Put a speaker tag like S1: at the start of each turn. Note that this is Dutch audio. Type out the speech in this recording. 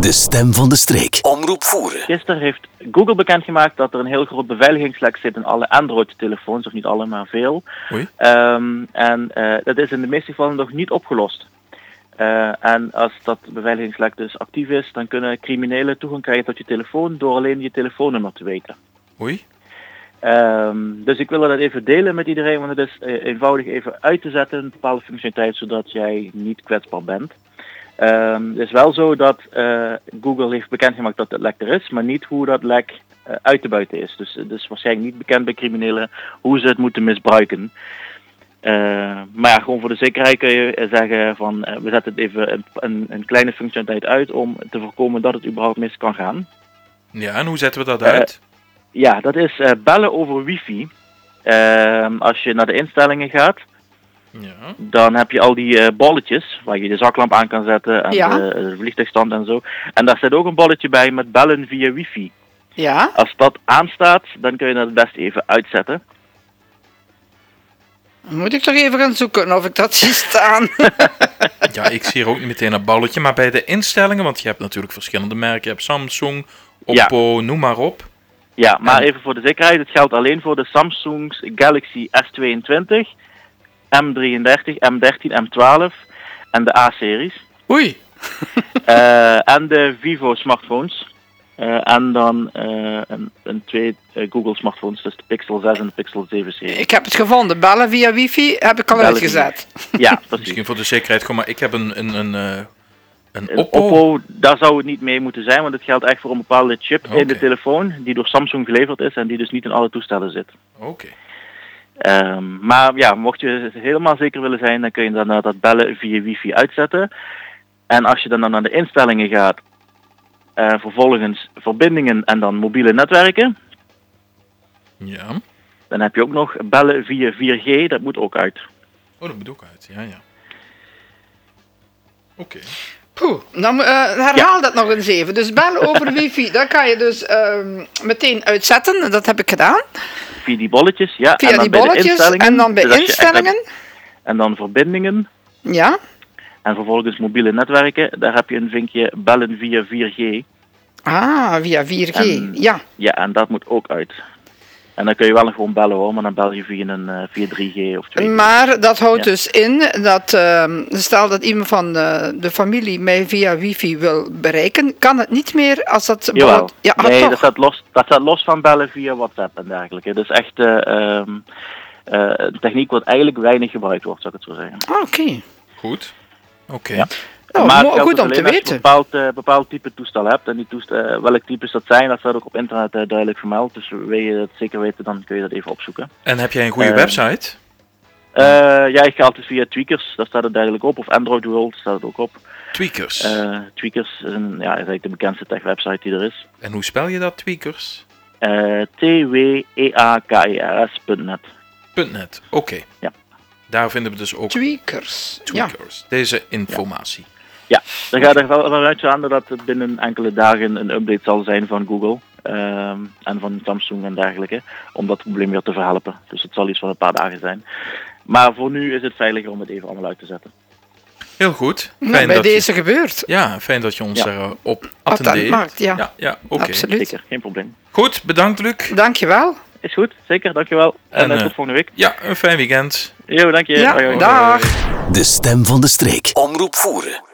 S1: De stem van de streek. Omroep voeren.
S2: Gisteren heeft Google bekendgemaakt dat er een heel groot beveiligingslek zit in alle Android-telefoons, of niet alle, maar veel.
S3: Oei.
S2: Ehm, en eh, dat is in de meeste gevallen nog niet opgelost. Eh, en als dat beveiligingslek dus actief is, dan kunnen criminelen toegang krijgen tot je telefoon door alleen je telefoonnummer te weten.
S3: Oei.
S2: Ehm, dus ik wil dat even delen met iedereen, want het is eh, eenvoudig even uit te zetten, een bepaalde functionaliteit, zodat jij niet kwetsbaar bent. Ehm, het is wel zo dat eh, Google heeft bekendgemaakt dat het lek er is, maar niet hoe dat lek eh, uit te buiten is. Dus het is waarschijnlijk niet bekend bij criminelen hoe ze het moeten misbruiken. Eh, maar ja, gewoon voor de zekerheid kun je eh, zeggen van eh, we zetten het even een, een, een kleine functionaliteit uit om te voorkomen dat het überhaupt mis kan gaan.
S3: Ja, en hoe zetten we dat
S2: Eh,
S3: uit?
S2: Ja, dat is eh, bellen over wifi. Ehm, als je naar de instellingen gaat,
S3: ja.
S2: dan heb je al die eh, balletjes waar je de zaklamp aan kan zetten en
S4: Ja.
S2: de, de vliegtuigstand en zo. En daar zit ook een balletje bij met bellen via wifi.
S4: Ja,
S2: Als dat aanstaat, dan kun je dat het best even uitzetten.
S4: dan moet ik toch even gaan zoeken of ik dat zie staan.
S3: ja, ik zie er ook niet meteen een balletje. Maar bij de instellingen, want je hebt natuurlijk verschillende merken. Je hebt Samsung,
S2: Ja.
S3: Oppo, noem maar op.
S2: Ja, maar
S3: En-
S2: even voor de zekerheid, het geldt alleen voor de Samsung's Galaxy S22, M33, M13, M12 en de A-series.
S3: Oei.
S2: Eh, en de Vivo smartphones. Eh, en dan eh, een, een twee eh, Google smartphones, dus de Pixel 6 en de Pixel 7 serie.
S4: Ik heb het gevonden. Bellen via wifi heb ik al
S2: Bellen
S4: uitgezet.
S2: Ja, precies.
S3: Misschien voor de zekerheid gewoon, maar ik heb een, een, een, eh, een
S2: Een
S3: Oppo.
S2: Oppo, daar zou het niet mee moeten zijn, want het geldt echt voor een bepaalde chip in
S3: Oké.
S2: de telefoon, die door Samsung geleverd is en die dus niet in alle toestellen zit.
S3: Oké.
S2: Ehm, maar ja, mocht je helemaal zeker willen zijn, dan kun je dan eh, dat bellen via wifi uitzetten. En als je dan, dan naar de instellingen gaat, eh, vervolgens verbindingen en dan mobiele netwerken,
S3: Ja.
S2: Dan heb je ook nog bellen via 4G, dat moet ook uit.
S3: Oh, dat moet ook uit. Ja, ja. Oké.
S4: Poeh, dan eh, herhaal dat nog eens even. Dus bellen over wifi, dat kan je dus ehm, meteen uitzetten. Dat heb ik gedaan.
S2: Via die bolletjes, ja.
S4: Via die
S2: bij de
S4: bolletjes
S2: instellingen.
S4: en dan bij
S2: Dus als je echt naar-
S4: instellingen.
S2: en dan verbindingen.
S4: Ja.
S2: En vervolgens mobiele netwerken. Daar heb je een vinkje bellen via 4G.
S4: Ah, via 4G.
S2: En-
S4: Ja.
S2: Ja, en dat moet ook uit. En dan kun je wel nog gewoon bellen hoor, maar dan bel je via, een, eh, via 3G of 2G.
S4: Maar dat houdt
S2: Ja.
S4: dus in dat ehm, stel dat iemand van eh, de familie mij via wifi wil bereiken, kan het niet meer als dat...
S2: Jawel.
S4: bijvoorbeeld- Ja, ah,
S2: nee,
S4: toch.
S2: dat staat, los, dat staat los van bellen via WhatsApp en dergelijke. Dat is echt eh, ehm, eh, een techniek wat eigenlijk weinig gebruikt wordt, zou ik het zo zeggen.
S4: Ah, Oké.
S3: Goed. Oké.
S2: Ja.
S4: Nou,
S2: maar het
S4: mo-
S2: geldt
S4: goed
S2: dus
S4: om te
S2: alleen als je
S4: weten.
S2: een bepaald, eh, bepaald type toestel hebt. En die toestel, eh, welk types dat zijn, dat staat ook op internet eh, duidelijk vermeld. Dus wil je dat zeker weten, dan kun je dat even opzoeken.
S3: En heb jij een goede
S2: Eh,
S3: website?
S2: Eh ja, ik ga altijd via Tweakers, daar staat het duidelijk op. Of Android World staat het ook op.
S3: Tweakers.
S2: Eh, Tweakers is, een, ja, is eigenlijk de bekendste tech website die er is.
S3: en hoe spel je dat? Tweakers?
S2: Eh E tweakers.net.
S3: .net. Oké.
S2: Ja.
S3: Daar vinden we dus ook
S4: Tweakers. Ja.
S3: tweakers. Deze informatie.
S2: Ja, dan gaat er wel vanuit aan dat het binnen enkele dagen een update zal zijn van Google. ehm, en van Samsung en dergelijke. Om dat probleem weer te verhelpen. Dus het zal iets van een paar dagen zijn. Maar voor nu is het veiliger om het even allemaal uit te zetten.
S3: Heel goed. Fijn
S4: Nou, bij
S3: dat je-
S4: deze gebeurt.
S3: Ja, fijn dat je ons
S2: Ja.
S3: daarop
S4: Attent
S3: attendeert.
S4: maakt, ja.
S3: Ja, ja oké.
S4: Absoluut.
S2: Zeker, geen probleem.
S3: Goed, bedankt Luc.
S4: Dankjewel.
S2: Is goed, zeker, dankjewel. En,
S3: En,
S2: eh,
S3: eh,
S2: tot volgende week.
S3: Ja, een fijn weekend.
S2: Jo, dank je.
S4: Ja,
S2: Hoi, hoi.
S4: dag.
S1: De stem van de streek. Omroep voeren.